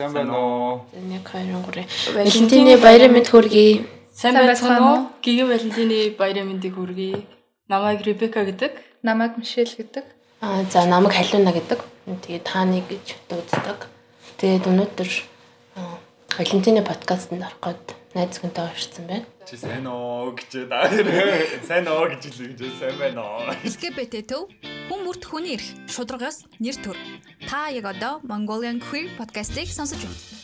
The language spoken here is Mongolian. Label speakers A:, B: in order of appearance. A: Сайн байна уу?
B: Нэг хоёрын гурван. Валентины баярын мэнд хүргэе.
C: Сайн байцгаана уу? Гэгэн Валентины баярын мэндийг хүргэе. Намайг Ребека гэдэг.
D: Намайг Мишель гэдэг.
B: Аа за намайг Халиуна гэдэг. Тэгээ тааны гэж дууддаг. Тэгээд өнөөдөр аа, Валентины подкастт орох гээд найз гэнтэй орсон байна.
A: Чи сайн уу гэж даа. Сайн уу гэж л гэж сайн байна уу.
E: LGBT төв хүн бүрт хүний эрх, шударгаас нэр төр. Та яг одоо Mongolian Queer podcast-ийг сонсож байна.